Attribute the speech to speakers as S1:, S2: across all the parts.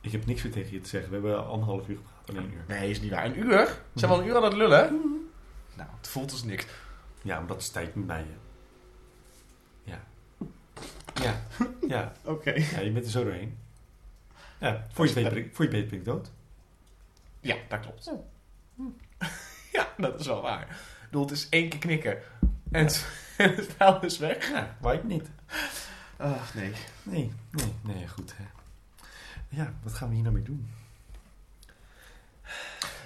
S1: je hebt niks meer tegen je te zeggen. We hebben anderhalf uur gepraat, alleen een uur.
S2: Nee, is niet waar. Een uur? Zijn we al een uur aan het lullen? Nou, het voelt als niks.
S1: Ja, maar dat is tijd niet bij je. Ja. Ja. Ja.
S2: Oké.
S1: Ja, je bent er zo doorheen. Ja, voor je het weet ben ik- voor je het weet ben ik dood.
S2: Ja, dat klopt. Ja, dat is wel waar. Ik bedoel, het is één keer knikken. En het, het vuil is weg.
S1: Ja, waar ik niet.
S2: Ach, nee.
S1: Nee, nee, nee, goed. Hè. Ja, wat gaan we hier nou mee doen?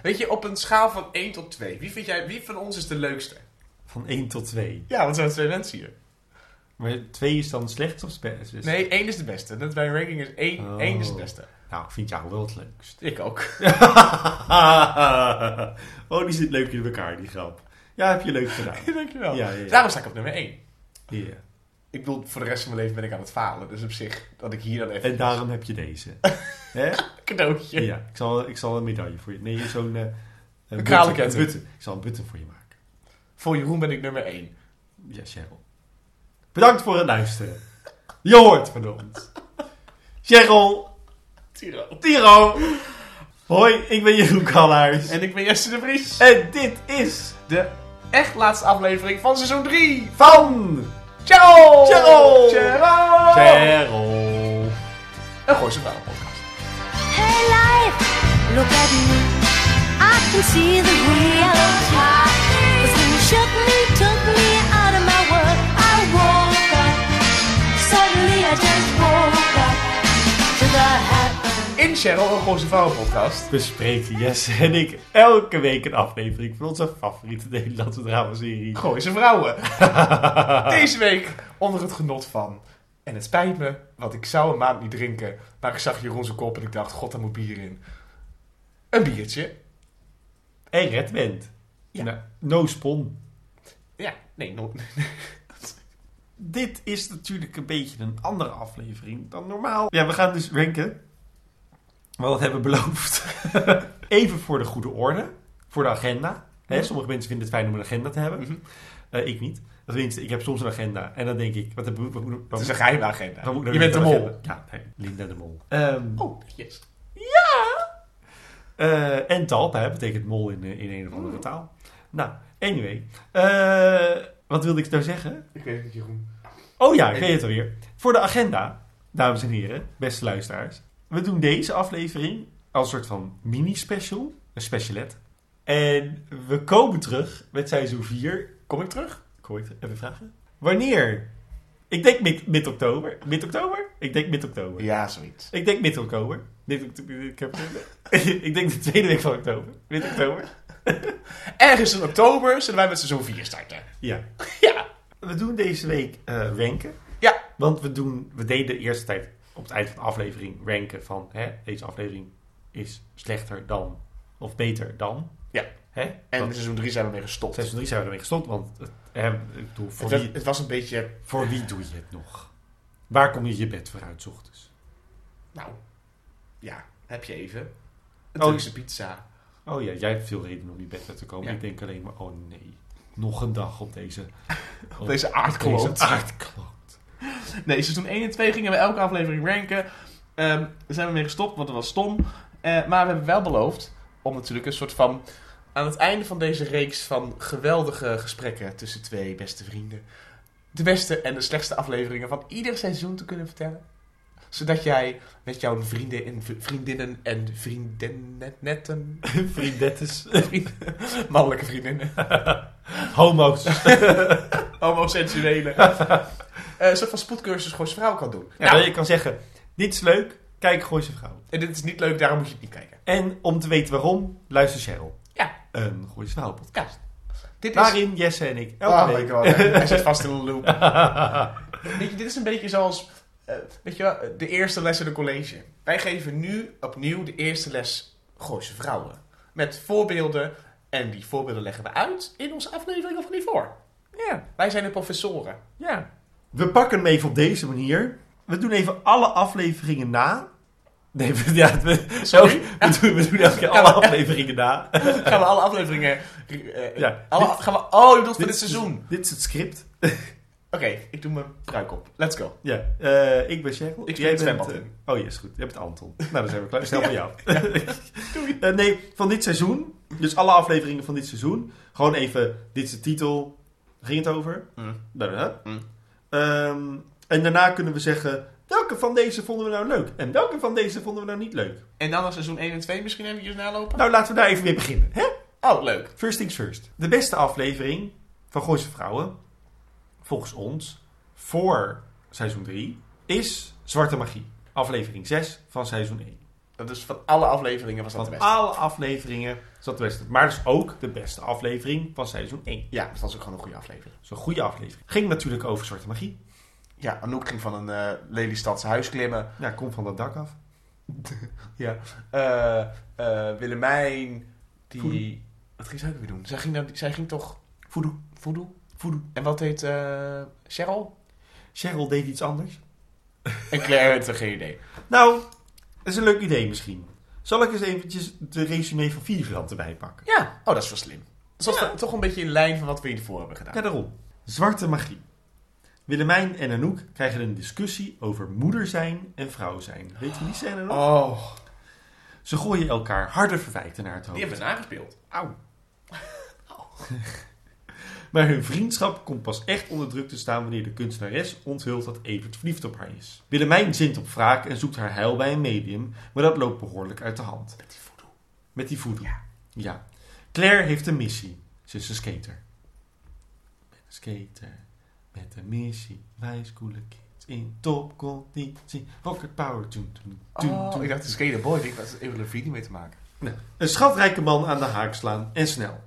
S2: Weet je, op een schaal van 1 tot 2, wie, vind jij, wie van ons is de leukste?
S1: Van 1 tot 2.
S2: Ja, want er zijn twee mensen hier.
S1: Maar 2 is dan slecht of best?
S2: Nee, 1 is de beste. Net bij een ranking is 1,
S1: Oh.
S2: 1 is de beste.
S1: Nou, ik vind jou wel het leukst.
S2: Ik ook.
S1: oh, die zit leuk in elkaar, die grap. Ja, heb je leuk gedaan.
S2: Dankjewel.
S1: Ja, ja, ja.
S2: Daarom sta ik op nummer 1.
S1: Ja.
S2: Ik bedoel, voor de rest van mijn leven ben ik aan het falen. Dus op zich, dat ik hier dan even...
S1: En daarom heb je deze. Hè?
S2: Een cadeautje.
S1: Ja, ik zal, ik zal een medaille voor je... Nee, zo'n... eh, een
S2: kralenketting.
S1: button- button. Ik zal een button voor je maken.
S2: Voor Jeroen ben ik nummer 1.
S1: Ja, Cheryl. Bedankt voor het luisteren. Je hoort van ons. Cheryl,
S2: Tiro.
S1: Tiro. Hoi, ik ben Jeroen Kallaars. En,
S2: En ik ben Jesse de Vries.
S1: en dit is
S2: De echt laatste aflevering van seizoen 3.
S1: van
S2: Ciao!
S1: Ciao!
S2: Ciao!
S1: Cheryl.
S2: En gooi ze wel een podcast.
S3: Hey life, look at me. I can see the real part. 'Cause when you shook me, took me out of my world, I woke up. Suddenly I just woke up to the happen.
S2: In Cheryl, een gooi ze wel een podcast.
S1: Bespreken Jesse en ik elke week een aflevering van onze favoriete Nederlandse dramaserie.
S2: Gooi ze vrouwen. Deze week onder het genot van. En het spijt me, want ik zou een maand niet drinken. Maar ik zag Jeroen zijn kop en ik dacht, god, daar moet bier in. Een biertje.
S1: En Red Band.
S2: Ja.
S1: Nou, no spon.
S2: Ja, nee, no-
S1: Dit is natuurlijk een beetje een andere aflevering dan normaal. Ja, we gaan dus ranken. Maar dat hebben we beloofd. Even voor de goede orde. Voor de agenda. Hè, sommige mensen vinden het fijn om een agenda te hebben.
S2: Mhm.
S1: Eh, ik niet. Tenminste, ik heb soms een agenda. En dan denk ik, wat hebben we... Wat, moeten we-
S2: het is
S1: wat,
S2: een geheime agenda.
S1: wat moeten we
S2: Je bent de
S1: met een
S2: mol.
S1: agenda? Ja, nee, Linda de Mol. Ehm,
S2: Oh, yes.
S1: eh, en talpa, hè, betekent mol in, eh, in een of andere
S2: Mhm.
S1: taal. Nou, anyway. Eh, wat wilde ik nou zeggen?
S2: Ik weet het niet, Jeroen.
S1: Oh ja, ik weet het alweer. Voor de agenda, dames en heren, beste luisteraars. We doen deze aflevering als soort van mini-special, een specialet. En we komen terug met seizoen 4.
S2: Kom ik terug?
S1: Kom ik er- even vragen? Wanneer? Ik denk mid- mid-oktober. mid-oktober? Ik denk mid-oktober.
S2: Ja, zoiets.
S1: Ik denk mid-oktober. Mid- ik heb- Ik denk de tweede week van oktober. Mid-oktober.
S2: Ergens in oktober zullen wij met seizoen 4 starten.
S1: Ja.
S2: Ja.
S1: We doen deze week eh ranken.
S2: Ja.
S1: Want we, doen, we deden de eerste tijd op het eind van de aflevering ranken van hè, deze aflevering is slechter dan of beter dan.
S2: Ja.
S1: Hè?
S2: En
S1: En
S2: seizoen 3 zijn we mee gestopt.
S1: seizoen 3 zijn we ermee gestopt, want het- hè, ik bedoel, voor,
S2: het, werd-
S1: wie,
S2: het was een beetje...
S1: voor wie doe je het nog? Waar kom je je bed voor uit 's ochtends?
S2: Nou, ja, heb je even. Een
S1: Oh.
S2: Turkse pizza.
S1: Oh ja, jij hebt veel reden om je bed uit te komen.
S2: Ja.
S1: Ik denk alleen maar, oh nee, nog een dag op deze, op
S2: Deze
S1: oh. deze
S2: aardkloot.
S1: aardkloot.
S2: Nee, seizoen 1 en 2 gingen we elke aflevering ranken. Ehm, daar zijn we mee gestopt, want het was stom. Eh, maar we hebben wel beloofd om natuurlijk een soort van... Aan het einde van deze reeks van geweldige gesprekken tussen twee beste vrienden... De beste en de slechtste afleveringen van ieder seizoen te kunnen vertellen. Zodat jij met jouw vrienden en v- vriendinnen en vriendennetten...
S1: Vriendettes,
S2: Vriend- mannelijke vriendinnen.
S1: homo's.
S2: homoseksuele. Eh, een soort van spoedcursus gewoon zijn vrouw kan doen.
S1: Ja,
S2: Nou,
S1: dat je kan zeggen, dit is leuk, kijk Gooi ze vrouw.
S2: en dit is niet leuk, daarom moet je het niet kijken.
S1: En om te weten waarom, luister Cheryl.
S2: Ja.
S1: Een goede verhaalpot.
S2: Ja. Dit is...
S1: Waarin Jesse en ik elke
S2: oh my
S1: week...
S2: god, hij zit vast in een loop. Weet je, dit is een beetje zoals... eh, weet je wel, de eerste les in een college. Wij geven nu opnieuw de eerste les Gooise vrouwen. Met voorbeelden. En die voorbeelden leggen we uit in onze aflevering van hiervoor.
S1: ja,
S2: Wij zijn de professoren.
S1: ja. We pakken hem even op deze manier. We doen even alle afleveringen na. Nee, we, ja, we,
S2: Sorry?
S1: we, doen, we doen elke keer alle afleveringen na.
S2: Gaan we alle afleveringen... eh,
S1: Ja,
S2: alle,
S1: dit-
S2: gaan we, oh, je bedoelt voor dit seizoen.
S1: Dit is het script.
S2: ik doe mijn pruik op. Let's go.
S1: Ja, eh, ik ben Sheryl.
S2: Ik
S1: Jij
S2: speel het
S1: bent,
S2: zwembad
S1: eh, Oh, ja, is goed. Je bent Anton. Nou, dan zijn we klaar. Stel voor jou. Eh, nee, van dit seizoen. Dus alle afleveringen van dit seizoen. Gewoon even, dit is de titel. Ging het over? Nou, hè?
S2: Mm.
S1: Ehm, en daarna kunnen we zeggen, welke van deze vonden we nou leuk? En welke van deze vonden we nou niet leuk?
S2: En dan als seizoen 1 en 2 misschien eventjes nalopen?
S1: Nou, laten we daar even mee beginnen. Hè?
S2: Oh, leuk.
S1: First things first. De beste aflevering van Gooise Vrouwen, volgens ons, voor seizoen 3, is Zwarte Magie. Aflevering 6 van seizoen 1.
S2: Dat is van alle afleveringen was dat de
S1: Van
S2: beste.
S1: alle afleveringen zat de beste. Maar dus ook de beste aflevering van seizoen 1.
S2: Ja, dat was ook gewoon een goede aflevering.
S1: Dus een goede aflevering. Ging natuurlijk over Zwarte Magie.
S2: Ja, Anouk ging van een eh Lelystadse huis klimmen.
S1: Ja, kom van dat dak af.
S2: Ja. Eh, eh, Willemijn, die...
S1: Voodoo.
S2: Wat ging zij ook weer doen? Zij ging, naar, zij ging toch...
S1: Voodoo.
S2: Voodoo?
S1: Voodoo.
S2: En wat heet eh Cheryl?
S1: Cheryl deed iets anders.
S2: En Claire heeft er geen idee.
S1: Nou, dat is een leuk idee misschien. Zal ik eens eventjes de resume van Videoland erbij pakken?
S2: Ja. Oh, dat is wel slim. Dus dat is
S1: Ja.
S2: wel- toch een beetje in lijn van wat we hiervoor hebben gedaan.
S1: Ja, daarom. Zwarte magie. Willemijn en Anouk krijgen een discussie over moeder zijn en vrouw zijn. Weet je die scène nog?
S2: Oh,
S1: Ze gooien elkaar harde verwijten naar het
S2: die
S1: hoofd.
S2: hebben we nagespeeld.
S1: Auw. maar hun vriendschap komt pas echt onder druk te staan wanneer de kunstenares onthult dat Evert verliefd op haar is. Willemijn zint op wraak en zoekt haar heil bij een medium, maar dat loopt behoorlijk uit de hand.
S2: Met die voodoo.
S1: Met die voodoo.
S2: Ja.
S1: Ja. Claire heeft een missie. Ze is een skater. Met een skater. Met een missie. Wij schoolen kids in topconditie. Rocket power. Toen, toen, toen,
S2: Oh,
S1: toen.
S2: ik dacht, de Skater Boy, ik was even een video mee te maken.
S1: Nee. Een schatrijke man aan de haak slaan en snel.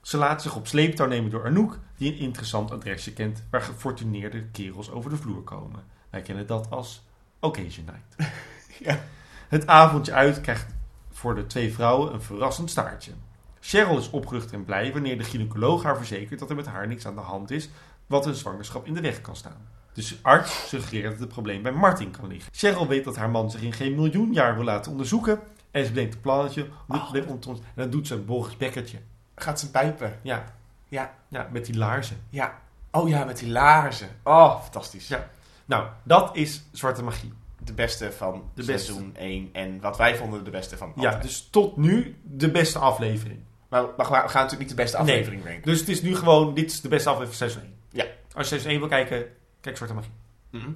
S1: Ze laat zich op sleeptouw nemen door Arnoek, die een interessant adresje kent waar gefortuneerde kerels over de vloer komen. Wij kennen dat als Occasion Night.
S2: Ja.
S1: Het avondje uit krijgt voor de twee vrouwen een verrassend staartje. Cheryl is opgelucht en blij wanneer de gynaecoloog haar verzekert dat er met haar niks aan de hand is wat een zwangerschap in de weg kan staan. De arts suggereert dat het probleem bij Martin kan liggen. Cheryl weet dat haar man zich in geen miljoen jaar wil laten onderzoeken en ze bedenkt een plannetje om dit
S2: Oh.
S1: probleem om te ont- En dan doet ze een Boris Bekkertje.
S2: Gaat zijn pijpen.
S1: Ja.
S2: Ja.
S1: ja, met die laarzen.
S2: Ja. Oh ja, met die laarzen. Oh, fantastisch.
S1: Ja. Nou, dat is zwarte magie.
S2: De beste van
S1: De beste.
S2: seizoen 1. En wat wij vonden de beste van
S1: Ja,
S2: altijd.
S1: dus tot nu de beste aflevering.
S2: Maar, maar we gaan natuurlijk niet de beste
S1: Nee.
S2: aflevering brengen.
S1: Dus het is nu gewoon, dit is de beste aflevering van seizoen 1.
S2: Ja.
S1: Als je seizoen 1 wil kijken, kijk zwarte magie.
S2: Wat Mhm. is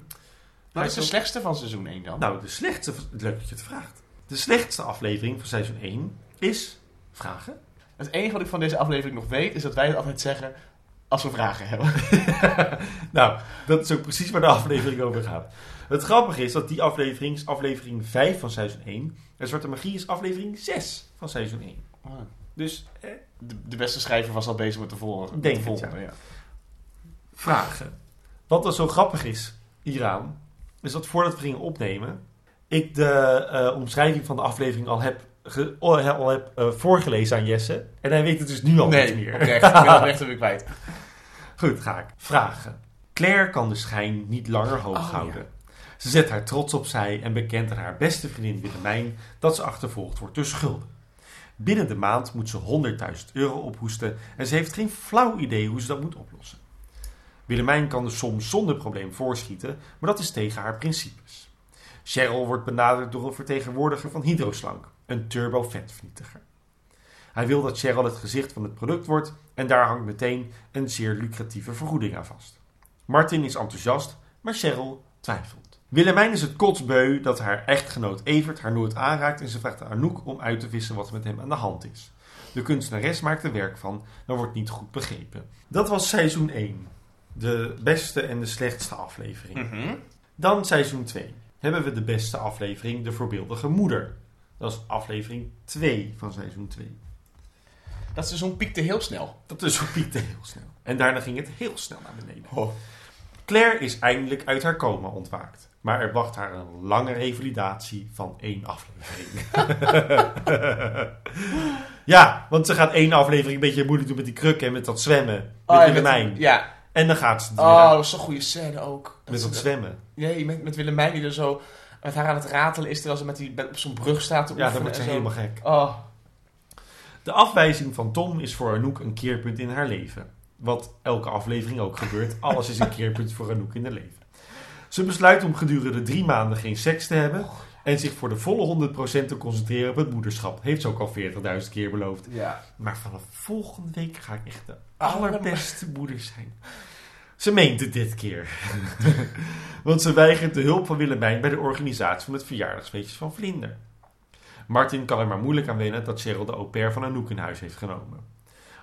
S1: Mhm.
S2: de
S1: Hij-
S2: slechtste van seizoen 1 dan?
S1: Nou, de slechtste, leuk dat je het vraagt. De slechtste aflevering van seizoen 1 is vragen.
S2: Het enige wat ik van deze aflevering nog weet, is dat wij het altijd zeggen als we vragen hebben.
S1: Nou, dat is ook precies waar de aflevering over gaat. Het grappige is dat die aflevering is aflevering 5 van seizoen 1. En Zwarte Magie is aflevering 6 van seizoen 1. Dus eh,
S2: De, de beste schrijver was al bezig met de volgende.
S1: Denk
S2: de
S1: het,
S2: volgende ja.
S1: vragen. Wat er zo grappig is hieraan, is dat voordat we gingen opnemen, ik de eh, omschrijving van de aflevering al heb, ge- al heb eh, voorgelezen aan Jesse. En hij weet het dus nu al
S2: Nee,
S1: niet meer.
S2: oprecht. Ik ben oprecht weer kwijt.
S1: Goed, ga ik. Vragen. Claire kan de schijn niet langer hoog
S2: Oh,
S1: houden. Ze zet haar trots opzij en bekent aan haar beste vriendin Willemijn dat ze achtervolgd wordt door schulden. Binnen de maand moet ze 100.000 euro ophoesten en ze heeft geen flauw idee hoe ze dat moet oplossen. Willemijn kan de som zonder probleem voorschieten, maar dat is tegen haar principes. Cheryl wordt benaderd door een vertegenwoordiger van Hydroslank, een turbo-vetvernietiger. Hij wil dat Cheryl het gezicht van het product wordt en daar hangt meteen een zeer lucratieve vergoeding aan vast. Martin is enthousiast, maar Cheryl twijfelt. Willemijn is het kotsbeu dat haar echtgenoot Evert haar nooit aanraakt en ze vraagt aan Anouk om uit te vissen wat er met hem aan de hand is. De kunstenares maakt er werk van, maar wordt niet goed begrepen. Dat was seizoen 1. De beste en de slechtste aflevering.
S2: Mhm.
S1: Dan seizoen 2. Hebben we de beste aflevering, De Voorbeeldige Moeder. Dat is aflevering 2 van seizoen 2.
S2: Dat seizoen piekte heel snel.
S1: Dat is op piekte heel snel. En daarna ging het heel snel naar beneden.
S2: Oh.
S1: Claire is eindelijk uit haar coma ontwaakt. Maar er wacht haar een lange revalidatie van één aflevering. ja, want ze gaat één aflevering een beetje moeilijk doen met die krukken en met dat zwemmen. Met
S2: Oh, ja,
S1: Willemijn.
S2: ja.
S1: En dan gaat ze het weer
S2: Oh,
S1: aan
S2: dat is zo'n goede scène ook.
S1: met
S2: ze-
S1: dat zwemmen.
S2: Nee, met, met Willemijn die er zo met haar aan het ratelen is terwijl ze met die, op zo'n brug staat. te
S1: Ja, dan
S2: oefenen
S1: wordt ze
S2: en zo.
S1: helemaal gek.
S2: Oh,
S1: De afwijzing van Tom is voor Anouk een keerpunt in haar leven. Wat elke aflevering ook gebeurt. Alles is een keerpunt voor Anouk in haar leven. Ze besluit om gedurende drie maanden geen seks te hebben. En zich voor de volle 100% te concentreren op het moederschap. Heeft ze ook al 40.000 keer beloofd.
S2: Ja.
S1: Maar vanaf volgende week ga ik echt de
S2: Ah,
S1: allerbeste moeder zijn. Ze meent het dit keer. Want ze weigert de hulp van Willemijn bij de organisatie van het verjaardagsfeestje van Vlinder. Martin kan er maar moeilijk aan wennen dat Cheryl de au pair van Anouk in huis heeft genomen.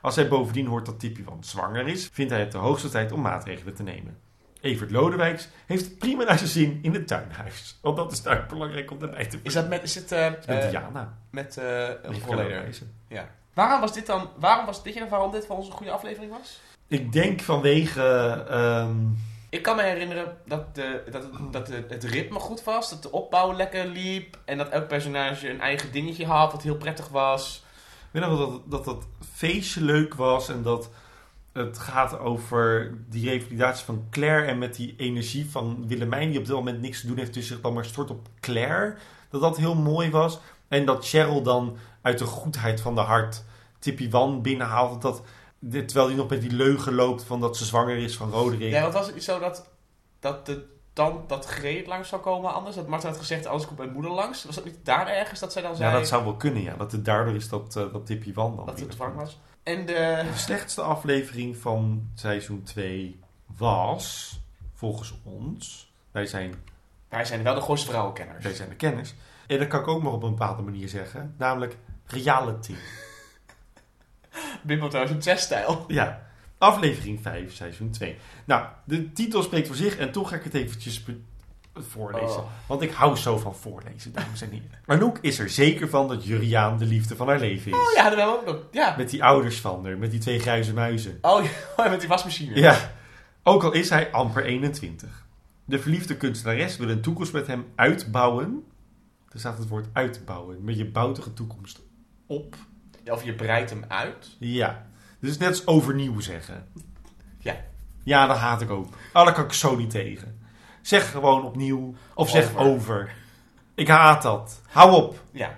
S1: Als hij bovendien hoort dat Tippy want zwanger is, vindt hij het de hoogste tijd om maatregelen te nemen. Evert Lodewijks heeft het prima naar zijn zin in het tuinhuis. Want dat is daar belangrijk om erbij te
S2: Is dat met... Is het, eh,
S1: Met
S2: eh,
S1: Diana.
S2: met eh, een
S1: die
S2: volleder?
S1: kan ook
S2: Ja. Waarom was dit dan... Waarom was dit, je, waarom dit voor ons een goede aflevering was?
S1: Ik denk vanwege... ehm,
S2: Ik kan me herinneren dat, de, dat, het- dat de- het ritme goed was, dat de opbouw lekker liep en dat elk personage een eigen dingetje had wat heel prettig was.
S1: Ik weet nog wel dat, dat dat feestje leuk was en dat het gaat over die revalidatie van Claire en met die energie van Willemijn, die op dit moment niks te doen heeft, dus zich dan maar stort op Claire. Dat dat heel mooi was. En dat Cheryl dan uit de goedheid van de hart Tippy Wan binnenhaalt. Dat, dit- terwijl hij nog met die leugen loopt van dat ze zwanger is van Roderick.
S2: Ja, want was het niet zo dat, dat, de, dan, dat Greet langs zou komen anders? Dat Martin had gezegd, anders komt mijn moeder langs. Was dat niet daar ergens dat zij dan zei
S1: Ja, dat zou wel kunnen, ja. Dat het daardoor is dat, eh, dat Tippy Wan dan
S2: dat het dwang
S1: binnenkomt.
S2: was? En de...
S1: De slechtste aflevering van seizoen 2 was, volgens ons, wij zijn,
S2: Wij zijn wel de grootste vrouwenkenners.
S1: wij zijn de kenners, en dat kan ik ook nog op een bepaalde manier zeggen, namelijk reality.
S2: Bimbo trouwens een chess-stijl.
S1: Ja, aflevering 5, seizoen 2. Nou, de titel spreekt voor zich en toch ga ik het eventjes be- voorlezen.
S2: Oh.
S1: Want ik hou zo van voorlezen, dames en heren. Anouk is er zeker van dat Juriaan de liefde van haar leven is.
S2: Oh ja, dat hebben we ook nog. Ja.
S1: Met die ouders van haar, met die twee grijze muizen.
S2: Oh ja, met die wasmachine.
S1: Ja, ook al is hij amper 21. De verliefde kunstenares wil een toekomst met hem uitbouwen. Er staat het woord uitbouwen, maar je bouwt toch een toekomst op.
S2: Of je breidt hem uit.
S1: Ja, dus net als overnieuw zeggen.
S2: Ja.
S1: Ja, dat haat ik ook. Oh, daar kan ik zo niet tegen. Zeg gewoon opnieuw of zeg
S2: Over.
S1: over. Ik haat dat. Hou op.
S2: Ja.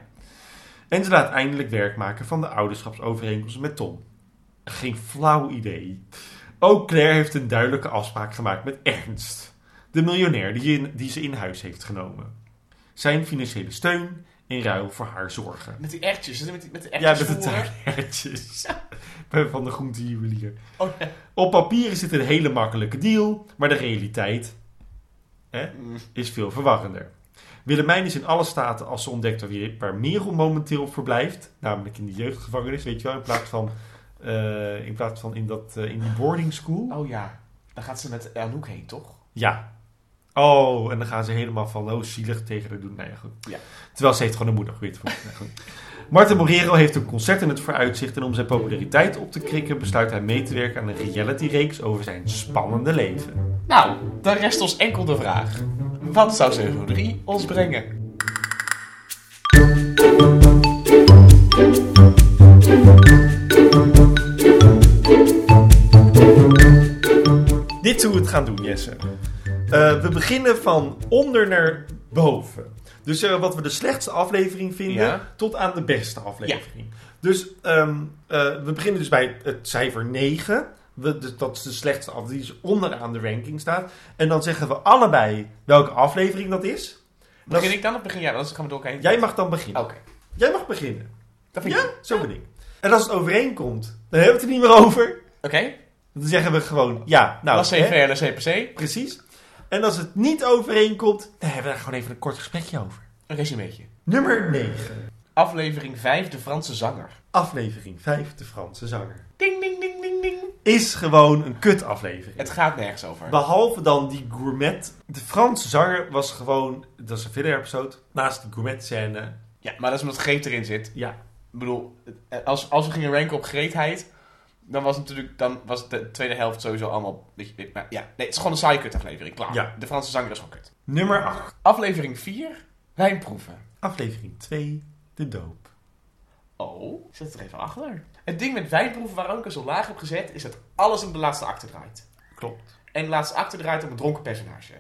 S1: En ze laat eindelijk werk maken van de ouderschapsovereenkomst met Tom. Geen flauw idee. Ook Claire heeft een duidelijke afspraak gemaakt met Ernst, de miljonair die, in- die ze in huis heeft genomen. Zijn financiële steun in ruil voor haar zorgen.
S2: Met die ertjes. Met die, met die
S1: Ja,
S2: ertjes
S1: met de
S2: voeren.
S1: tuinertjes. Ben Van de groentejuwelier.
S2: Oh ja.
S1: Op papier is dit een hele makkelijke deal, maar de realiteit hè,
S2: Mm.
S1: is veel verwarrender. Willemijn is in alle staten als ze ontdekt dat hier waar Merel momenteel verblijft, namelijk in de jeugdgevangenis, weet je wel, in plaats van, eh, in, plaats van in, dat, eh, in die boarding school.
S2: Oh ja, dan gaat ze met Anouk heen, toch?
S1: Ja. Oh, en dan gaan ze helemaal van, oh, zielig tegen haar doen. Nou ja, goed.
S2: Ja.
S1: Terwijl ze heeft gewoon een moeder, goed. Nou, goed. Martin Morero heeft een concert in het vooruitzicht en om zijn populariteit op te krikken besluit hij mee te werken aan een realityreeks over zijn spannende leven.
S2: Nou, dan rest ons enkel de vraag. Wat zou seizoen 3 ons brengen?
S1: Dit is hoe we het gaan doen, Jesse. Eh, we beginnen van onder naar boven. Dus eh, wat we de slechtste aflevering vinden,
S2: Ja.
S1: tot aan de beste aflevering. Dus ehm, eh, we beginnen dus bij het cijfer 9. We, dus dat is de slechtste aflevering, die is onderaan de ranking staat. En dan zeggen we allebei welke aflevering dat is. En als-
S2: Begin ik dan of begin jij? Want Anders gaan we door elkaar heen.
S1: jij mag dan beginnen.
S2: Oké,
S1: Jij mag beginnen.
S2: dat vind ik.
S1: Ja, zo ben ik. En als het overeenkomt, dan hebben we het er niet meer over.
S2: Oké,
S1: Dan zeggen we gewoon, ja, nou...
S2: was
S1: hè?
S2: CVR en CPC.
S1: Precies. En als het niet overeenkomt, dan hebben we daar gewoon even een kort gesprekje over.
S2: Een resumeetje.
S1: Nummer 9.
S2: Aflevering 5, de Franse zanger.
S1: Aflevering 5, de Franse zanger.
S2: Ding, ding, ding, ding, ding.
S1: Is gewoon een kut aflevering.
S2: Het gaat nergens over.
S1: Behalve dan die gourmet. De Franse zanger was gewoon, dat is een verder episode, naast die gourmet scène.
S2: Ja, maar dat is omdat Greet erin zit.
S1: Ja,
S2: Ik bedoel, eh, als, als we gingen ranken op greetheid, dan was natuurlijk dan was de tweede helft sowieso allemaal... weet je, maar Ja, nee, het is gewoon een saaie kut aflevering, klaar.
S1: Ja.
S2: De Franse zanger is gewoon kut.
S1: nummer 8.
S2: Aflevering 4, wijnproeven.
S1: Aflevering 2, de doop.
S2: Oh, ik zet het er even achter. Het ding met wijnproeven waar ik er zo laag op gezet, is dat alles om de laatste acte draait.
S1: Klopt.
S2: En de laatste acte draait om een dronken personage.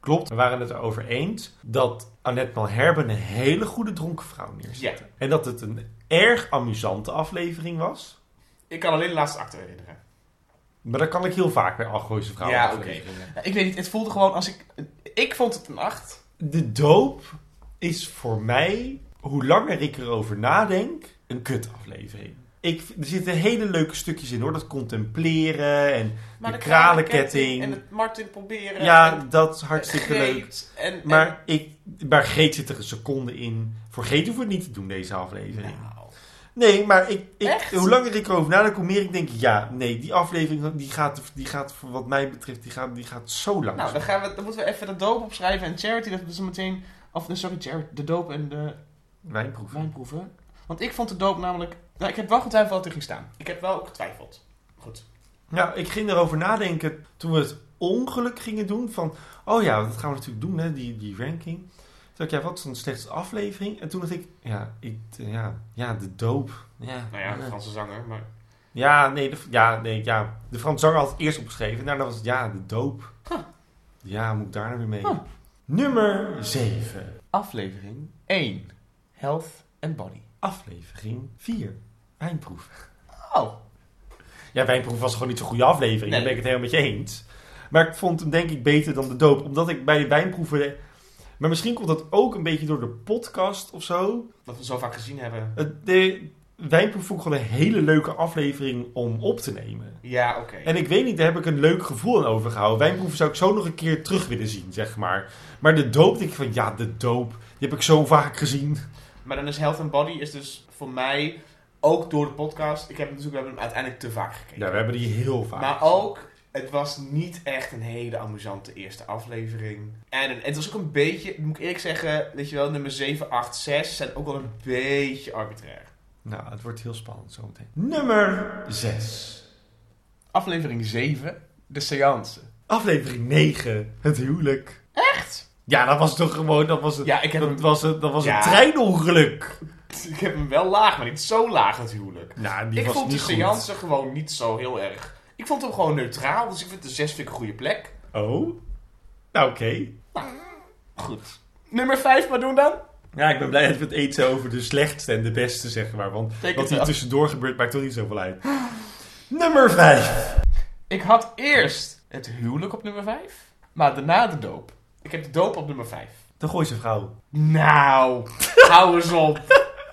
S1: Klopt, we waren het erover eens dat Annette Malherbe een hele goede dronken vrouw neerzette.
S2: Dus Ja.
S1: En dat het een erg amusante aflevering was.
S2: Ik kan alleen de laatste acte herinneren.
S1: Maar dat kan ik heel vaak bij Algoïsche vrouwen.
S2: Ja, oké.
S1: afleveringen.
S2: Ja, ik weet niet, het voelde gewoon als ik... Ik vond het een 8.
S1: De doop is voor mij, hoe langer ik erover nadenk, een kutaflevering. Ik, v- er zitten hele leuke stukjes in hoor. Dat contempleren en
S2: Maar
S1: De kralenketting.
S2: En het Martin proberen.
S1: ja,
S2: en
S1: dat is hartstikke
S2: Greet
S1: leuk.
S2: En,
S1: Maar, ik, maar Greet zit er een seconde in. Voor Greet hoeven we het niet te doen, deze
S2: en-
S1: aflevering.
S2: nou,
S1: Nee, maar ik, ik,
S2: Echt?
S1: hoe langer ik erover nadenk, hoe meer ik denk... Ja, nee, die aflevering die gaat, die gaat voor wat mij betreft die gaat, die gaat zo lang.
S2: nou, dan, gaan we, dan moeten we even de doop opschrijven. En Charity, dat we zo meteen... Of nee, sorry, Charity, de doop en de
S1: Wijnproef.
S2: wijnproeven. Want ik vond de doop namelijk... Nou, ik heb wel getwijfeld wat er ging staan. Ik heb wel ook getwijfeld. Goed.
S1: Ja, ik ging erover nadenken toen we het ongeluk gingen doen. Van, oh ja, dat gaan we natuurlijk doen, hè, die, die ranking. Toen dacht ik, ja, wat is dan de slechtste aflevering? En toen dacht ik, ja, ik, eh, ja, ja de doop. Ja, ja.
S2: Nou Franse zanger, maar...
S1: Ja, nee, de, ja, nee, ja. De Frans zanger had het eerst opgeschreven. En daarna was het, ja, de doop. Ja, moet ik daar nou weer mee?
S2: Huh.
S1: Nummer 7.
S2: Aflevering 1. Health and Body.
S1: Aflevering 4. Wijnproef.
S2: Oh.
S1: Ja, Wijnproef was gewoon niet zo'n goede aflevering. Daar ben ik het helemaal met je eens. Maar ik vond hem denk ik beter dan de doop. Omdat ik bij de wijnproeven... Maar misschien komt dat ook een beetje door de podcast of zo.
S2: Dat we zo vaak gezien hebben.
S1: Het- De wijnproef vond ik gewoon een hele leuke aflevering om op te nemen.
S2: Ja, oké.
S1: En ik weet niet, daar heb ik een leuk gevoel aan overgehouden. Wijnproeven zou ik zo nog een keer terug willen zien, zeg maar. Maar de doop denk ik van, ja, de doop. Die heb ik zo vaak gezien.
S2: Maar dan is Health and Body is dus voor mij, ook door de podcast, ik heb hem natuurlijk we hebben hem uiteindelijk te vaak gekeken.
S1: Ja, we hebben die heel vaak.
S2: maar ook, het was niet echt een hele amusante eerste aflevering. En een- het was ook een beetje, moet ik eerlijk zeggen, weet je wel, nummer 7, 8, 6 zijn ook wel een beetje arbitrair.
S1: Nou, het wordt heel spannend zometeen. Nummer 6.
S2: Aflevering 7, de seance.
S1: Aflevering 9, het huwelijk.
S2: Echt?
S1: Ja, dat was toch gewoon, dat was, het,
S2: Ja, ik heb, hem,
S1: dat was, het, dat was
S2: Ja.
S1: een treinongeluk.
S2: ik heb hem wel laag, maar niet zo laag natuurlijk.
S1: Nou, die
S2: ik
S1: was
S2: vond de
S1: niet goed.
S2: seance gewoon niet zo heel erg. Ik vond hem gewoon neutraal, dus ik vind de 6 vind ik een goede plek.
S1: Oh? Nou, oké.
S2: Goed. Nummer 5 maar doen dan?
S1: Ja, ik ben blij dat we het eten over de slechtste en de beste, zeg maar. Want
S2: Zeker
S1: wat hier
S2: wel.
S1: tussendoor gebeurt, maakt toch niet zoveel uit. Nummer 5.
S2: Ik had eerst het huwelijk op nummer 5, maar daarna de doop. Ik heb de doop op nummer 5.
S1: De Gooise vrouw.
S2: Nou, hou eens op.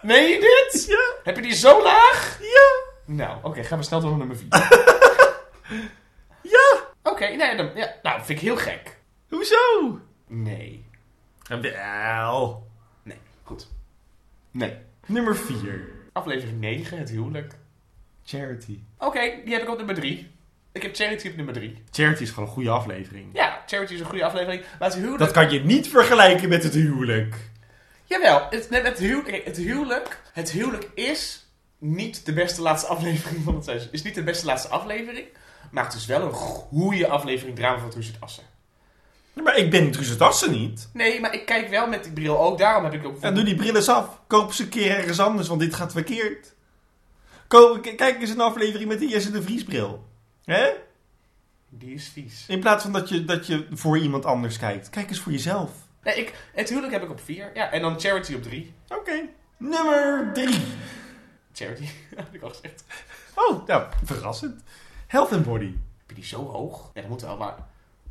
S2: Meen je dit?
S1: Ja.
S2: Heb je die zo laag?
S1: Ja.
S2: Nou, oké, gaan we snel door naar nummer 4. Oké,
S1: Ja.
S2: nee, dan, ja, nou, vind ik heel gek.
S1: Hoezo?
S2: Nee.
S1: Wel.
S2: Nee, goed. Nee.
S1: Nummer 4.
S2: Aflevering 9, het huwelijk.
S1: Charity.
S2: Oké, die heb ik op nummer 3. Ik heb Charity op nummer 3.
S1: Charity is gewoon een goede aflevering.
S2: Ja, Charity is een goede aflevering, maar het huwelijk...
S1: Dat kan je niet vergelijken met het huwelijk.
S2: Jawel, het, nee, het, huwelijk, kijk, het, huwelijk, het huwelijk is niet de beste laatste aflevering van het seizoen. Is niet de beste laatste aflevering. Maar het is wel een goede aflevering drama van Truus het Assen.
S1: Ja, Maar ik ben Truus Dassen niet.
S2: Nee, maar ik kijk wel met die bril ook. Daarom heb ik ook...
S1: En doe die bril eens af. Koop ze een keer ergens anders, want dit gaat verkeerd. Ko- k- kijk eens een aflevering met de Jesse de Vriesbril. Hè?
S2: Die is vies.
S1: In plaats van dat je, dat je voor iemand anders kijkt. Kijk eens voor jezelf.
S2: Nee, ik, het huwelijk heb ik op vier. Ja, en dan Charity op drie.
S1: Oké. Nummer 3.
S2: Charity, heb ik al gezegd.
S1: Oh, nou, verrassend. Health and Body.
S2: Heb je die zo hoog? Ja, dat moet wel, maar...
S1: Ah,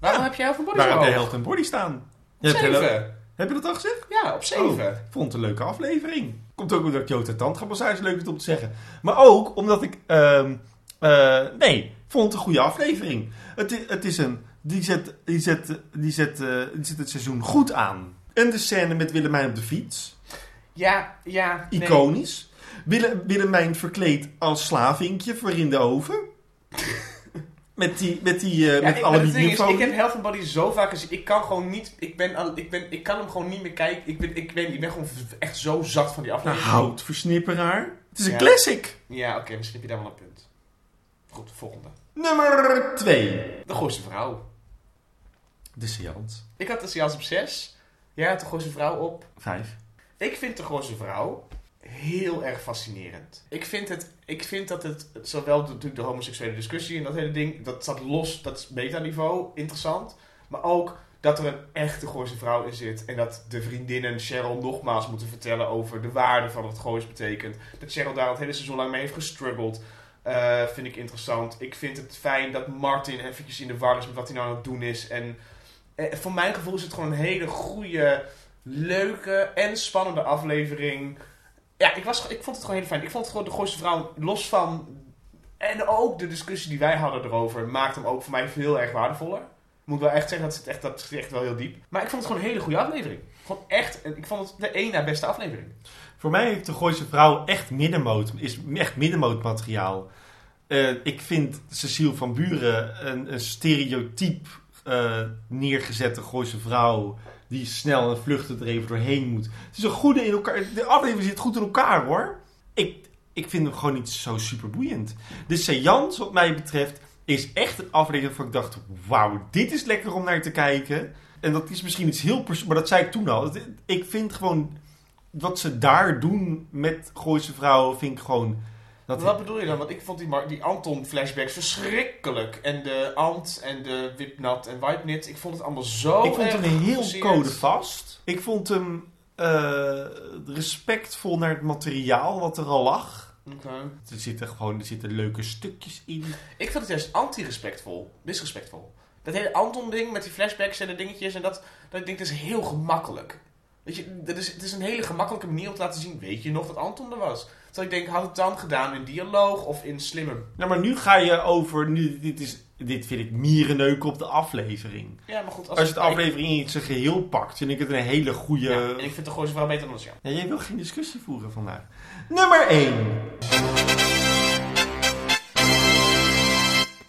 S2: Waarom heb jij heel veel body
S1: Waar
S2: zo
S1: heb je
S2: hoog?
S1: Health and Body staan? Je
S2: Op
S1: hebt Oh. hele-
S2: zeven.
S1: Heb je dat al gezegd?
S2: Ja, op zeven.
S1: Ik vond het een leuke aflevering. Komt ook omdat ik Jota Tandgamassage leuk vind om te zeggen. Maar ook omdat ik... ehm, eh, nee, ik vond het een goede aflevering. Het, i- het is een... Die zet, die, zet, die, zet, eh, die zet het seizoen goed aan. En de scène met Willemijn op de fiets.
S2: Ja, ja. nee.
S1: Iconisch. Wille, Willemijn verkleed als slavinkje voor in de oven. met die... Met, die, eh,
S2: Ja,
S1: met
S2: ik,
S1: alle
S2: maar het ding is,
S1: videofoon.
S2: ik heb Health and Body zo vaak gezien. Ik kan gewoon niet. Ik, ben, al- ik, ben, ik kan hem gewoon niet meer kijken. Ik, ben, ik, weet niet, ik ben gewoon v- echt zo zat van die
S1: Nou,
S2: aflevering.
S1: houtversnipperaar. Het is een
S2: Ja.
S1: classic.
S2: Ja, oké, misschien heb je daar wel een punt. Goed, volgende.
S1: Nummer 2.
S2: De Gooise Vrouw.
S1: De seance.
S2: Ik had de Seance op 6. Jij had de Gooise Vrouw op.
S1: 5.
S2: Ik vind de Gooise Vrouw heel erg fascinerend. Ik vind, het, ik vind dat het, zowel de- natuurlijk de homoseksuele discussie en dat hele ding, dat staat los, dat is metaniveau, interessant. Maar ook dat er een echte Gooise vrouw in zit. En dat de vriendinnen Cheryl nogmaals moeten vertellen over de waarde van wat Goois betekent. Dat Cheryl daar het hele seizoen lang mee heeft gestruggeld. eh, vind ik interessant. Ik vind het fijn dat Martin eventjes in de war is met wat hij nou aan het doen is. En eh, voor mijn gevoel is het gewoon een hele goede, leuke en spannende aflevering. Ja, ik, was, ik vond het gewoon heel fijn. Ik vond het gewoon de Gooise Vrouw, los van... En ook de discussie die wij hadden erover, maakt hem ook voor mij heel erg waardevoller. Moet wel echt zeggen, dat zit echt, dat zit echt wel heel diep. Maar ik vond het gewoon een hele goede aflevering. Gewoon echt, ik vond het de één na beste aflevering.
S1: Voor mij heeft de Gooise vrouw echt middenmoot, is echt middenmootmateriaal. Eh, ik vind Cecile van Buren een, een stereotyp eh, neergezette Gooise vrouw. Die snel en vluchtend er even doorheen moet. Het is een goede in elkaar. De aflevering zit goed in elkaar hoor. Ik, ik vind hem gewoon niet zo super boeiend. De Seance, wat mij betreft, is echt een aflevering waarvan ik dacht: wauw, dit is lekker om naar te kijken. En dat is misschien iets heel persoonlijks, maar dat zei ik toen al. Het- Ik vind gewoon wat ze daar doen met Gooise vrouwen, vind ik gewoon. Dat
S2: Wat bedoel je dan? Want ik vond die, Mar- die Anton-flashbacks verschrikkelijk. En de Ant en de Wipnat en Wipnit. Ik vond het allemaal zo
S1: ik vond
S2: erg
S1: hem heel
S2: geforceerd.
S1: codevast. Ik vond hem eh, respectvol naar het materiaal wat er al lag.
S2: Oké.
S1: Er zitten gewoon er zitten leuke stukjes in.
S2: Ik vond het juist anti-respectvol. Disrespectvol. Dat hele Anton-ding met die flashbacks en de dingetjes. En dat, dat ik denk, dat is heel gemakkelijk. Weet je, dat is, het is een hele gemakkelijke manier om te laten zien. Weet je nog dat Anton er was? Terwijl ik denk, had het dan gedaan in dialoog of in slimme...
S1: Nou, maar nu ga je over. Nu, dit, is, dit vind ik mierenneuken op de aflevering.
S2: Ja, maar goed.
S1: Als je de aflevering in zijn geheel pakt, vind ik het een hele goede.
S2: Ja, en ik vind de Gooise Vrouw beter dan de Sjaam.
S1: Ja, jij wil geen discussie voeren vandaag. Nummer 1.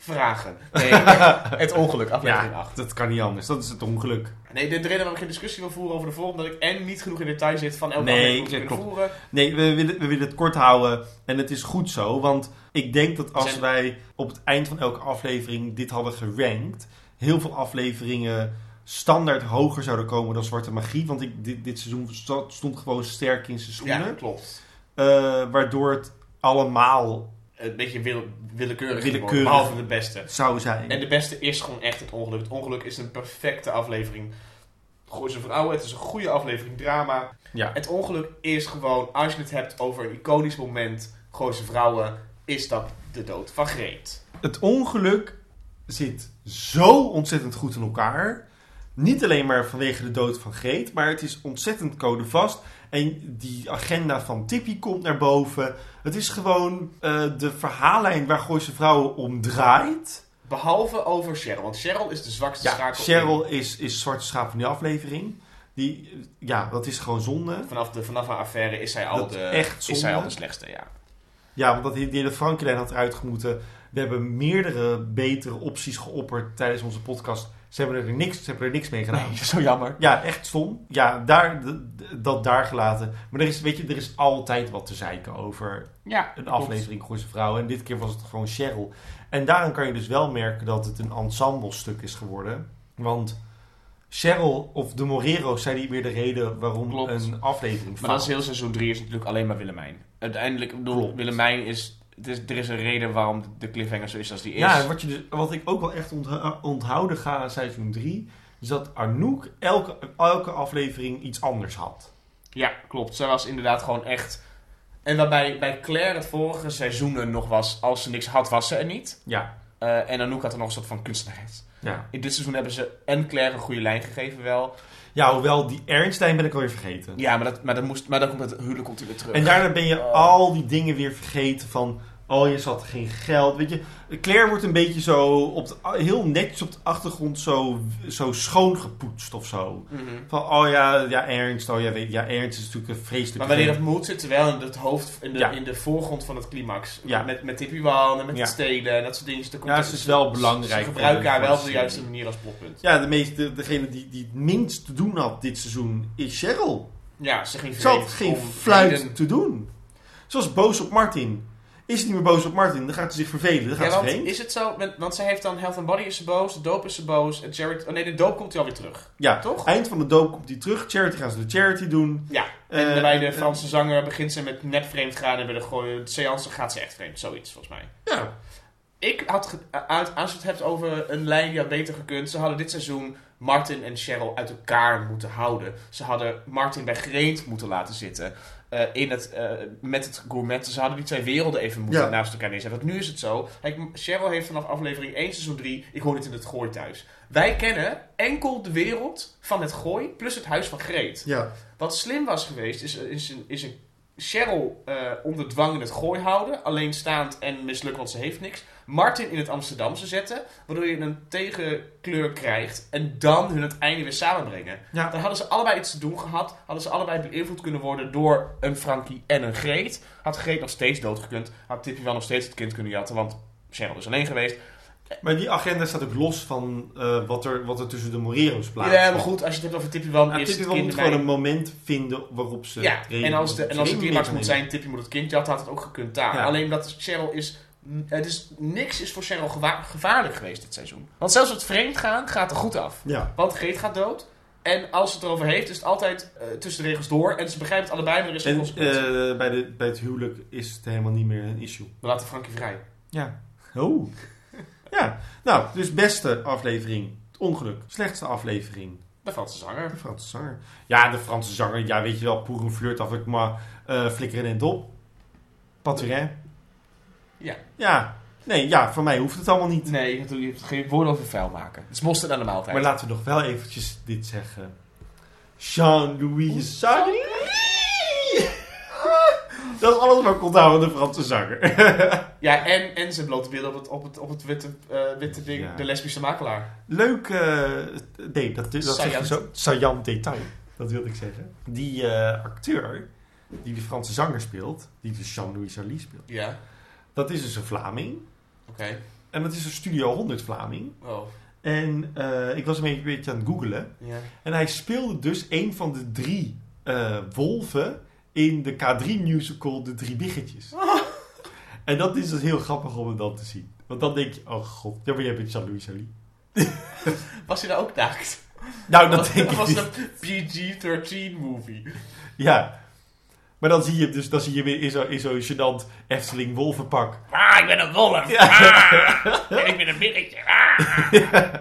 S2: Vragen. Nee, het ongeluk, aflevering 8.
S1: Ja, dat kan niet anders. Dat is het ongeluk.
S2: Nee, de, de reden waarom ik geen discussie wil voeren over de vorm, dat ik en niet genoeg in detail zit van elke
S1: Nee,
S2: aflevering te kunnen
S1: klopt.
S2: voeren.
S1: Nee, we willen, we willen het kort houden. En het is goed zo. Want ik denk dat als
S2: Zijn-
S1: wij op het eind van elke aflevering dit hadden gerankt. Heel veel afleveringen standaard hoger zouden komen dan Zwarte Magie. Want ik, dit, dit seizoen sta- stond gewoon sterk in zijn schoenen.
S2: Ja, klopt.
S1: Eh, waardoor het allemaal
S2: Een beetje wil,
S1: Willekeurig.
S2: willekeurig, geworden, behalve de beste.
S1: zou zijn.
S2: En de beste is gewoon echt het ongeluk. Het ongeluk is een perfecte aflevering. Gooi ze vrouwen, het is een goede aflevering drama.
S1: Ja.
S2: Het ongeluk is gewoon, als je het hebt over een iconisch moment, gooi ze vrouwen, is dat de dood van Greet.
S1: Het ongeluk zit zo ontzettend goed in elkaar. Niet alleen maar vanwege de dood van Greet, maar het is ontzettend codevast. En die agenda van Tippy komt naar boven. Het is gewoon eh, de verhaallijn waar Gooise Vrouwen om draait.
S2: Behalve over Cheryl, want Cheryl is de zwakste
S1: Ja,
S2: schakel
S1: Cheryl is, is zwarte schaap van die aflevering. Die, eh, ja, dat is gewoon zonde.
S2: in- Vanaf, de, vanaf haar affaire is zij al,
S1: Dat
S2: de,
S1: is echt
S2: is zij
S1: zonde.
S2: al de slechtste, ja.
S1: Ja, want dat, die hele Franklin had eruit gemoeten. We hebben meerdere betere opties geopperd tijdens onze podcast. Ze hebben er niks, ze hebben er niks mee gedaan.
S2: zo jammer.
S1: Ja, echt stom. Ja, daar, d- d- dat daar gelaten. Maar er is, weet je, er is altijd wat te zeiken over
S2: Ja,
S1: een
S2: klopt.
S1: aflevering Gooise Vrouwen. En dit keer was het gewoon Cheryl. En daarom kan je dus wel merken dat het een ensemblestuk is geworden. Want Cheryl of de Morero's zijn niet meer de reden waarom
S2: Klopt.
S1: een aflevering
S2: Maar dat
S1: faalt.
S2: is heel seizoen 3 is natuurlijk alleen maar Willemijn. Uiteindelijk, ik bedoel,
S1: Klopt.
S2: Willemijn is, het is... Er is een reden waarom de cliffhanger zo is als die is.
S1: Ja, en wat, je dus, wat ik ook wel echt ontha- onthouden ga aan seizoen 3... is dat Arnoek elke, elke aflevering iets anders had.
S2: Ja, klopt. Zij was inderdaad gewoon echt... En waarbij bij Claire het vorige seizoen er nog was... Als ze niks had, was ze er niet.
S1: Ja,
S2: Eh, en Anouk had er nog een soort van kunstenaars.
S1: ja.
S2: In dit seizoen hebben ze en Claire een goede lijn gegeven wel.
S1: ja hoewel die Ernstijn ben ik alweer vergeten.
S2: Ja, maar, dat, maar, dat moest, maar dan komt het huwelijk komt hij weer terug.
S1: En daarna ben je
S2: Oh.
S1: al die dingen weer vergeten van... Oh, je zat geen geld. Weet je, Claire wordt een beetje zo op de, heel netjes op de achtergrond zo, zo schoongepoetst of zo.
S2: Mhm.
S1: Van, oh ja, ja, Ernst. Oh ja, weet, ja, Ernst is natuurlijk een vreselijk.
S2: Maar wanneer het moet, zit ze wel in het hoofd, in de,
S1: Ja.
S2: in de voorgrond van het climax.
S1: Ja.
S2: Met, met Tippy Wan en met
S1: Ja.
S2: het stelen en dat soort dingen. Dus er komt-
S1: Ja, ze is wel belangrijk
S2: Ze gebruiken
S1: voor-
S2: haar
S1: voor
S2: wel
S1: de
S2: op de juiste
S1: serie.
S2: manier als plotpunt.
S1: Ja, de meeste, degene die, die het minst te doen had dit seizoen is Cheryl.
S2: Ja, ze ging
S1: Ze had
S2: vreemd
S1: geen
S2: om
S1: fluit
S2: reden-
S1: te doen. Zoals boos op Martin. Is ze niet meer boos op Martin, dan gaat ze zich vervelen. Dan
S2: Ja,
S1: gaat ze
S2: want
S1: heen.
S2: is het zo, want- want zij heeft dan Health and Body is ze boos, de doop is ze boos, en Jared... Oh nee, de doop komt hij alweer terug.
S1: Ja,
S2: Toch?
S1: eind van de doop komt hij terug. Charity gaan ze de charity doen.
S2: Ja, en
S1: Eh,
S2: bij de
S1: eh,
S2: Franse zanger begint ze met net vreemd gaan en bij de go- seance gaat ze echt vreemd. Zoiets, volgens mij.
S1: Ja,
S2: Ik had, ge- uit, als je het hebt over een lijn die had beter gekund, ze hadden dit seizoen Martin en Cheryl uit elkaar moeten houden. Ze hadden Martin bij Greet moeten laten zitten. eh, in het, eh, met het gourmetten. Ze hadden die twee werelden even moeten
S4: Ja.
S2: naast elkaar neerzetten. Want nu is het zo. Kijk, Cheryl heeft vanaf aflevering 1, seizoen 3, ik hoor dit in het gooi thuis. Wij kennen enkel de wereld van het gooi plus het huis van Greet.
S4: Ja,
S2: Wat slim was geweest, is, eh, is, een, is een Cheryl eh, onder dwang in het gooi houden. Alleenstaand en mislukt, want ze heeft niks. Martin in het Amsterdamse zetten. Waardoor je een tegenkleur krijgt. En dan hun het einde weer samenbrengen.
S4: Ja.
S2: Dan hadden ze allebei iets te doen gehad. Hadden ze allebei beïnvloed kunnen worden door een Frankie en een Greet. Had Greet nog steeds doodgekund. Had Tippy wel nog steeds het kind kunnen jatten. Want Cheryl is alleen geweest.
S1: Maar die agenda staat ook los van eh, wat, er, wat er tussen de Morero's plaatsvindt.
S2: Ja, maar goed, als je het hebt over Tippy wel een
S1: Nou,
S2: eerste
S1: Tippy wel moet gewoon een moment vinden waarop ze...
S2: Ja, en
S1: reden-
S2: als, de, en als
S1: ze
S2: het climax
S1: reden
S2: moet zijn, tipje moet het kindje, had had het ook gekund daar.
S1: Ja.
S2: Alleen dat Cheryl is... Het is, niks is voor Cheryl gewa- gevaarlijk geweest dit seizoen. Want zelfs het vreemd gaan gaat er goed af.
S4: ja.
S2: Want Greet gaat dood. En als ze het erover heeft, is het altijd eh, tussen de regels door. En ze begrijpt het allebei, maar er is geen
S1: En
S2: consequentie.
S1: eh, bij, de, bij het huwelijk is het helemaal niet meer een issue.
S2: We laten Frankie vrij.
S1: Ja. Oh. ja. Nou, dus beste aflevering. Het ongeluk. Slechtste aflevering.
S2: De Franse zanger.
S1: De Franse zanger. Ja, de Franse zanger. Ja, weet je wel. Poer een flirt af. Ik maar eh flikkeren en dop. Paturin.
S2: Ja.
S1: Ja. Nee, ja. Voor mij hoeft het allemaal niet.
S2: Nee, je hebt- je hebt geen woorden over vuil maken. Het is mosterd aan de maaltijd.
S1: Maar laten we nog wel eventjes dit zeggen. Jean-Louis Sarri. Dat is alles wat ik onthoud van de Franse zanger.
S2: Ja, en, en ze blote beelden op het, op het, op het witte, eh, witte ding.
S1: Ja.
S2: De lesbische makelaar.
S1: Leuk, eh, nee, dat, dat
S2: Saillant.
S1: zeg je zo. Saillant detail, dat wilde ik zeggen. Die eh, acteur die de Franse zanger speelt, die dus Jean-Louis Sarli speelt,
S2: Ja,
S1: dat is dus een Vlaming.
S2: oké.
S1: En dat is een Studio 100 Vlaming.
S2: Oh,
S1: En eh, ik was een beetje, een beetje aan het googelen.
S2: ja.
S1: En hij speelde dus een van de drie eh, wolven in de K3 musical De Drie Biggetjes. En dat is dus heel grappig om het dan te zien. Want dan denk je, oh god, ja maar jij bent Jean-Louis Sarli.
S2: Was hij daar ook naakt?
S1: Nou, dat denk
S2: dat
S1: ik
S2: was
S1: niet.
S2: een PG-13 movie.
S1: Ja. Maar dan zie je hem dus, dan zie je weer in zo'n in zo'n gênant Efteling wolvenpak.
S2: Ah, ik ben een wolf.
S1: Ja.
S2: En ik ben een biggetje. Ah.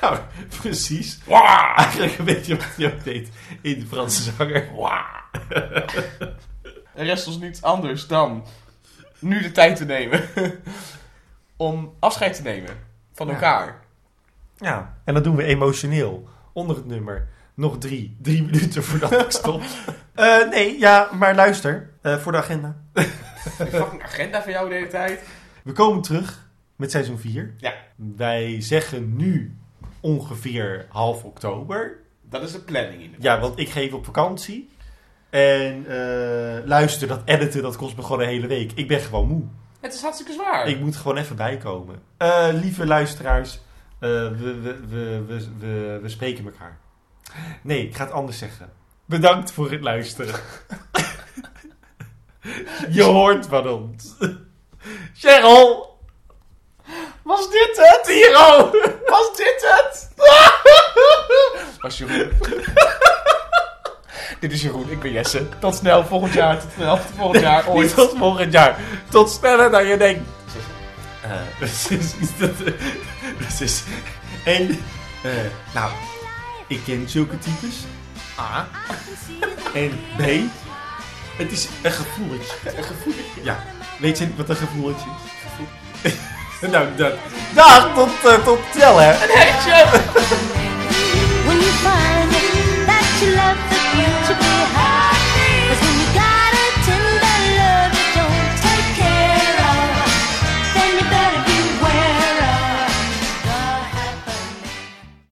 S1: Nou, precies.
S2: Wah.
S1: Eigenlijk een beetje wat hij ook deed in de Franse zanger.
S2: Wah. Er rest ons niets anders dan nu de tijd te nemen om afscheid te nemen van
S1: Ja.
S2: elkaar.
S1: Ja, en dat doen we emotioneel. Onder het nummer. Nog drie. Drie minuten voordat ik stop. Eh, nee, ja, maar luister. eh, voor de agenda.
S2: De fucking agenda van jou de hele tijd.
S1: We komen terug met seizoen 4.
S2: Ja.
S1: Wij zeggen nu ongeveer half oktober.
S2: Dat is de planning in.
S1: Ja, want ik geef op vakantie. En eh, luister, dat editen, dat kost me gewoon een hele week. Ik ben gewoon moe.
S2: Het is hartstikke zwaar.
S1: Ik moet gewoon even bijkomen. Eh, lieve luisteraars, eh, we, we, we, we, we, we spreken elkaar. Nee, ik ga het anders zeggen. Bedankt voor het luisteren. Je hoort van ons. Cheryl!
S2: Was dit het?
S1: Tiro!
S2: Was dit het? Was Jeroen. Dit is Jeroen, ik ben Jesse. Tot snel, volgend jaar. Tot snel, volgend jaar. Ooit.
S1: Niet tot volgend jaar. Tot sneller dan je denkt. Eh, dus is, is dat, eh, dus is, en, eh, nou, ik ken zulke types. A. En B. Het is een gevoeletje.
S2: Een gevoeletje.
S1: Ja, weet je wat een gevoeletje is? nou, dat. Dag, tot, eh, tot snel hè.
S2: Hey, Jeff.
S3: Thank